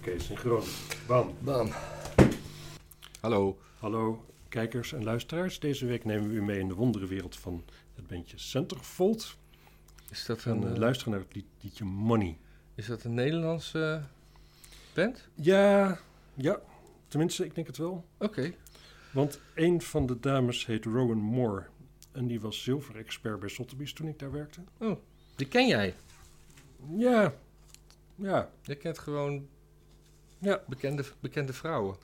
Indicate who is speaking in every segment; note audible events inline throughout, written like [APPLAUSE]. Speaker 1: Kees in Groningen. Bam.
Speaker 2: Bam. Hallo.
Speaker 1: Hallo kijkers en luisteraars. Deze week nemen we u mee in de wonderenwereld van het bandje Centerfold.
Speaker 2: Is dat
Speaker 1: We gaan
Speaker 2: een,
Speaker 1: eh,
Speaker 2: eh,
Speaker 1: luisteren naar het lied- liedje Money.
Speaker 2: is dat een Nederlandse eh, band?
Speaker 1: Ja, ja. Tenminste, ik denk het wel.
Speaker 2: Oké.
Speaker 1: Want een van de dames heet Rowan Moore. En die was zilverexpert bij Sotheby's toen ik daar werkte.
Speaker 2: Die ken jij.
Speaker 1: Ja, ja.
Speaker 2: Je kent gewoon
Speaker 1: Ja.
Speaker 2: bekende, bekende vrouwen.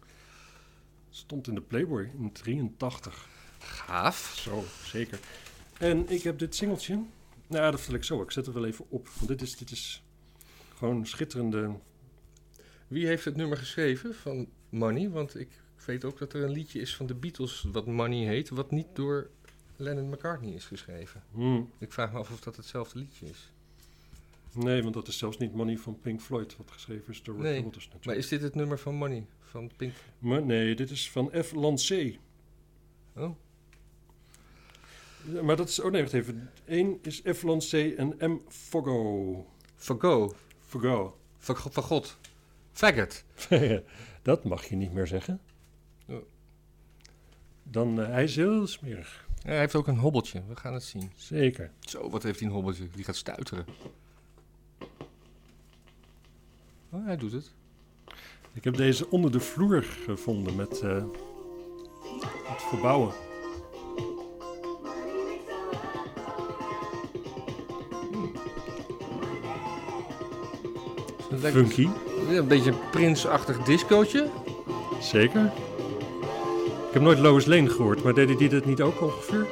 Speaker 1: Stond in de Playboy in 83.
Speaker 2: Gaaf.
Speaker 1: Zo, zeker. En ik heb dit singeltje. Nou, ja, dat vertel ik zo. Ik zet het wel even op. Want dit is, dit is gewoon schitterende.
Speaker 2: Wie heeft het nummer geschreven van Money? Want ik weet ook dat er een liedje is van de Beatles wat Money heet, wat niet door Lennon McCartney is geschreven.
Speaker 1: Hmm.
Speaker 2: Ik vraag me af of dat hetzelfde liedje is.
Speaker 1: Nee, want dat is zelfs niet Money van Pink Floyd, wat geschreven is door Roger
Speaker 2: Nee,
Speaker 1: Waters natuurlijk.
Speaker 2: Maar is dit het nummer van Money van Pink?
Speaker 1: Maar nee, dit is van F. Lancé.
Speaker 2: Oh.
Speaker 1: Ja, Maar dat is... Oh nee, wacht even. Eén is F. Lancé en M. Fogo.
Speaker 2: Van Go.
Speaker 1: Fogo.
Speaker 2: Van, Go- van God. Faggot.
Speaker 1: dat mag je niet meer zeggen.
Speaker 2: Ja.
Speaker 1: Dan, eh, hij is heel smerig.
Speaker 2: Ja, hij heeft ook een hobbeltje. We gaan het zien.
Speaker 1: Zeker.
Speaker 2: Zo, wat heeft hij een hobbeltje? Die gaat stuiteren. Oh, hij doet het.
Speaker 1: Ik heb deze onder de vloer gevonden met eh, het verbouwen.
Speaker 2: Het lijkt
Speaker 1: Funky.
Speaker 2: Ja, een beetje een prinsachtig discootje.
Speaker 1: Zeker. Ik heb nooit Lois Lane gehoord, maar deden die dat niet ook ongeveer?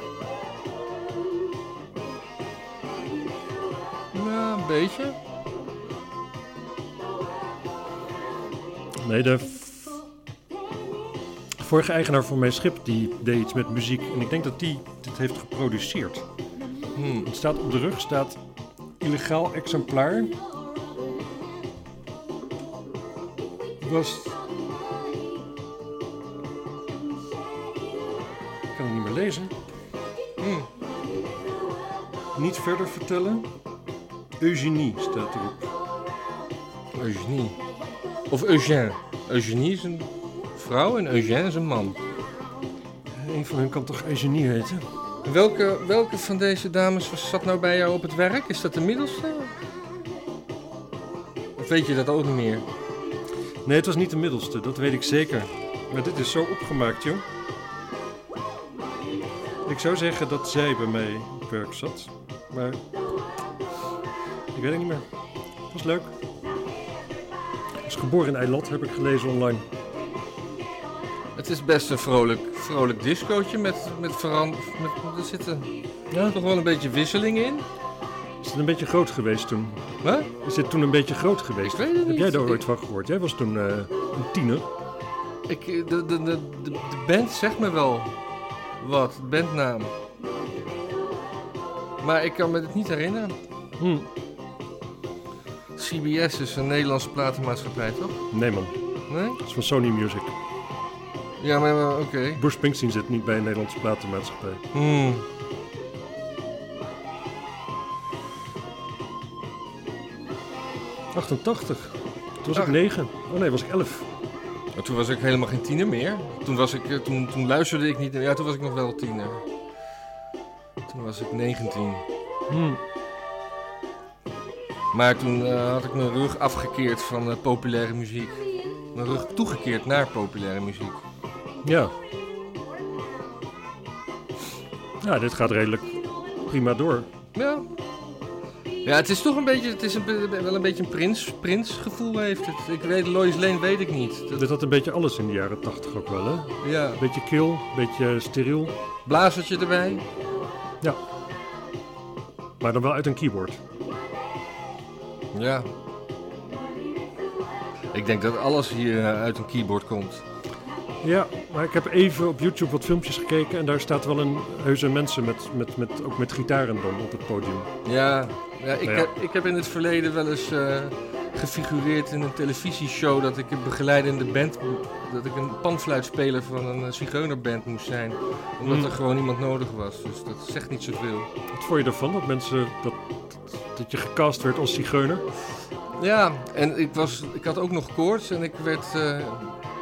Speaker 2: Ja, een beetje.
Speaker 1: Nee, de v- vorige eigenaar van mijn schip die deed iets met muziek. En ik denk dat die dit heeft geproduceerd.
Speaker 2: Hmm.
Speaker 1: Het staat op de rug, staat illegaal exemplaar. Was... Ik kan het niet meer lezen.
Speaker 2: Hmm.
Speaker 1: Niet verder vertellen. Eugenie staat erop.
Speaker 2: Eugenie. Of Eugène. Eugenie is een vrouw en Eugène is een man.
Speaker 1: Een van hun kan toch Eugenie heten?
Speaker 2: Welke, welke van deze dames was, zat nou bij jou op het werk? Is dat de middelste? Of weet je dat ook niet meer?
Speaker 1: Nee, het was niet de middelste, dat weet ik zeker. Maar dit is zo opgemaakt, joh. Ik zou zeggen dat zij bij mij op werk zat. Maar ik weet het niet meer. Het was leuk. Is geboren in Eilat, heb ik gelezen online.
Speaker 2: Het is best een vrolijk, vrolijk discootje met, met veran- Met, er zitten
Speaker 1: Ja.
Speaker 2: toch wel een beetje wisseling in.
Speaker 1: Is het een beetje groot geweest toen?
Speaker 2: Huh?
Speaker 1: Is dit toen een beetje groot geweest?
Speaker 2: Ik weet het
Speaker 1: Heb
Speaker 2: niet.
Speaker 1: jij daar
Speaker 2: Ik-
Speaker 1: ooit van gehoord? Jij was toen eh, een tiener.
Speaker 2: Ik, de, de, de, de, de band zegt me wel wat, de bandnaam. Maar ik kan me het niet herinneren.
Speaker 1: Hm.
Speaker 2: CBS is een Nederlandse platenmaatschappij, toch?
Speaker 1: Nee man,
Speaker 2: Nee?
Speaker 1: dat is van Sony Music.
Speaker 2: Ja, maar, maar oké.
Speaker 1: Bruce Springsteen zit niet bij een Nederlandse platenmaatschappij.
Speaker 2: Hmm.
Speaker 1: Hm, 88. Toen was ik
Speaker 2: Ach.
Speaker 1: 9. Oh nee, was ik 11.
Speaker 2: Maar toen was ik helemaal geen tiener meer. Toen, was ik, eh, toen, toen luisterde ik niet. Ja, toen was ik nog wel tiener. Toen was ik 19.
Speaker 1: Hmm,
Speaker 2: Maar toen eh, had ik mijn rug afgekeerd van eh, populaire muziek. Mijn rug toegekeerd naar populaire muziek.
Speaker 1: Ja. Ja, dit gaat redelijk prima door.
Speaker 2: Ja. Ja, het is toch een beetje, het is een, be- wel een beetje een prins, prinsgevoel heeft het. Ik weet, Lois Lane weet ik niet. Dat-
Speaker 1: Dit had een beetje alles in de jaren 80 ook wel, hè?
Speaker 2: ja.
Speaker 1: Beetje kil, beetje steriel,
Speaker 2: Blazertje erbij.
Speaker 1: maar dan wel uit een keyboard.
Speaker 2: Ja. Ik denk dat alles hier eh, uit een keyboard komt.
Speaker 1: Ja, maar ik heb even op YouTube wat filmpjes gekeken en daar staat wel een heuse mensen met, met, met, ook met gitaren dan op het podium.
Speaker 2: Ja. ja, ik,
Speaker 1: Ja.
Speaker 2: Heb, ik heb in het verleden wel eens eh, gefigureerd in een televisieshow dat ik een begeleidende band, mo- dat ik een panfluitspeler van een eh, zigeunerband moest zijn. Omdat
Speaker 1: Mm.
Speaker 2: er gewoon iemand nodig was. Dus dat zegt niet zoveel.
Speaker 1: Wat vond je ervan dat mensen, dat, dat je gecast werd als zigeuner?
Speaker 2: Ja, en ik, was, ik had ook nog koorts en ik werd... eh,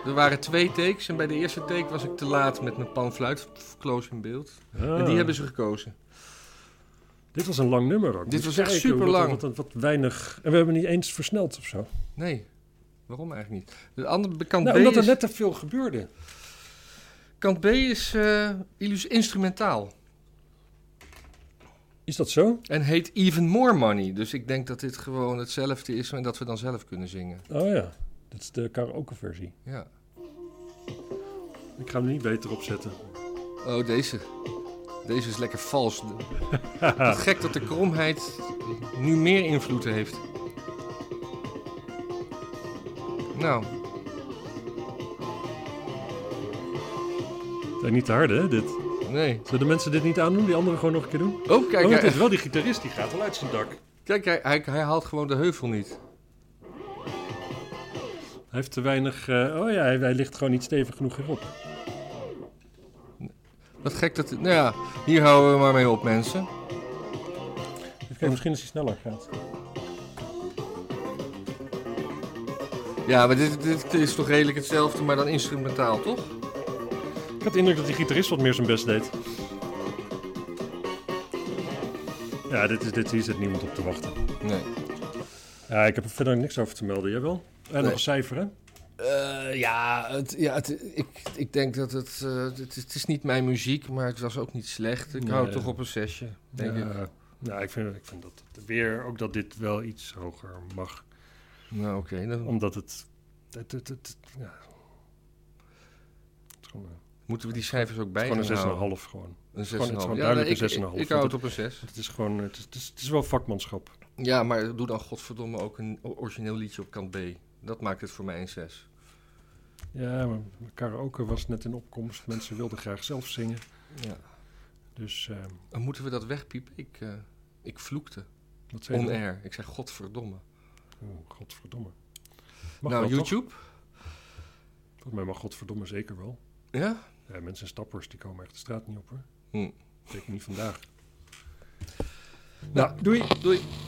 Speaker 2: er waren twee takes en bij de eerste take was ik te laat met mijn panfluit. Pff, Close in beeld. En die
Speaker 1: Ah.
Speaker 2: hebben ze gekozen.
Speaker 1: Dit was een lang nummer ook.
Speaker 2: Dit
Speaker 1: Moet
Speaker 2: was echt
Speaker 1: kijken hoe dat-
Speaker 2: superlang.
Speaker 1: Wat, wat, wat weinig. En we hebben niet eens versneld of zo.
Speaker 2: Nee, waarom eigenlijk niet? De andere bekant
Speaker 1: Nou,
Speaker 2: B
Speaker 1: omdat er
Speaker 2: is,
Speaker 1: net te veel gebeurde.
Speaker 2: kant B is eh, illus instrumentaal.
Speaker 1: Is dat zo?
Speaker 2: En heet Even More Money. Dus ik denk dat dit gewoon hetzelfde is en dat we dan zelf kunnen zingen.
Speaker 1: Oh ja. Dit is de karaoke versie.
Speaker 2: Ja.
Speaker 1: Ik ga hem niet beter opzetten.
Speaker 2: Oh, deze. Deze is lekker
Speaker 1: [LAUGHS]
Speaker 2: vals. Wat gek dat de kromheid nu meer invloed heeft. Nou,
Speaker 1: Zijn niet te hard, hè? Dit.
Speaker 2: nee.
Speaker 1: Zullen de mensen dit niet aandoen? Die anderen gewoon nog een keer doen?
Speaker 2: Oh, kijk,
Speaker 1: oh, het
Speaker 2: hij,
Speaker 1: is wel die gitarist. Die gaat al uit zijn dak.
Speaker 2: kijk hij, hij, hij haalt gewoon de heuvel niet.
Speaker 1: Hij heeft te weinig... eh, oh ja, hij, hij ligt gewoon niet stevig genoeg erop.
Speaker 2: Wat gek dat... Nou ja, hier houden we maar mee op, mensen.
Speaker 1: Even kijken, misschien als hij sneller gaat.
Speaker 2: Ja, maar dit, dit is toch redelijk hetzelfde, maar dan instrumentaal, toch?
Speaker 1: Ik had de indruk dat die gitarist wat meer zijn best deed. Ja, dit is, dit, hier zit niemand op te wachten.
Speaker 2: Nee.
Speaker 1: Ja, ik heb er verder niks over te melden. Jij wel? En nog een cijfer, hè?
Speaker 2: Eh, ja, het, ja het, ik, ik denk dat het, eh, het... is- Het is niet mijn muziek, maar het was ook niet slecht. Ik hou
Speaker 1: Nee.
Speaker 2: toch op een zesje, denk ik.
Speaker 1: ja, Nou, ik vind, ik vind dat het weer ook dat dit wel iets hoger mag.
Speaker 2: Nou, oké. dan
Speaker 1: Omdat het. Het, het, het, ja. het is gewoon, eh, het
Speaker 2: moeten we die cijfers ook
Speaker 1: is
Speaker 2: bij
Speaker 1: gewoon
Speaker 2: gaan houden.
Speaker 1: een 6,5 gewoon.
Speaker 2: Een 6,5.
Speaker 1: Gewoon- het is gewoon
Speaker 2: Ja,
Speaker 1: duidelijk
Speaker 2: nee,
Speaker 1: een
Speaker 2: ik-
Speaker 1: 6,5.
Speaker 2: Ik, hou het op een 6.
Speaker 1: Het is gewoon. Het is, het is, het is wel vakmanschap.
Speaker 2: Ja, maar doe dan godverdomme ook een o- origineel liedje op kant B. Dat maakt het voor mij een 6.
Speaker 1: Ja, maar karaoke was net in opkomst. Mensen wilden graag zelf zingen.
Speaker 2: Ja.
Speaker 1: Dus eh,
Speaker 2: En moeten we dat wegpiepen? Ik, eh, ik vloekte.
Speaker 1: wat zei je?
Speaker 2: On
Speaker 1: dan?
Speaker 2: air. Ik zei godverdomme.
Speaker 1: Oh, godverdomme. Mag
Speaker 2: nou,
Speaker 1: wel, toch?
Speaker 2: YouTube?
Speaker 1: Volgens mij mag godverdomme zeker wel.
Speaker 2: Ja?
Speaker 1: Ja, mensen in stappers die komen echt de straat niet op hoor.
Speaker 2: Hm.
Speaker 1: Zeker niet vandaag.
Speaker 2: Nou,
Speaker 1: doei.
Speaker 2: Doei.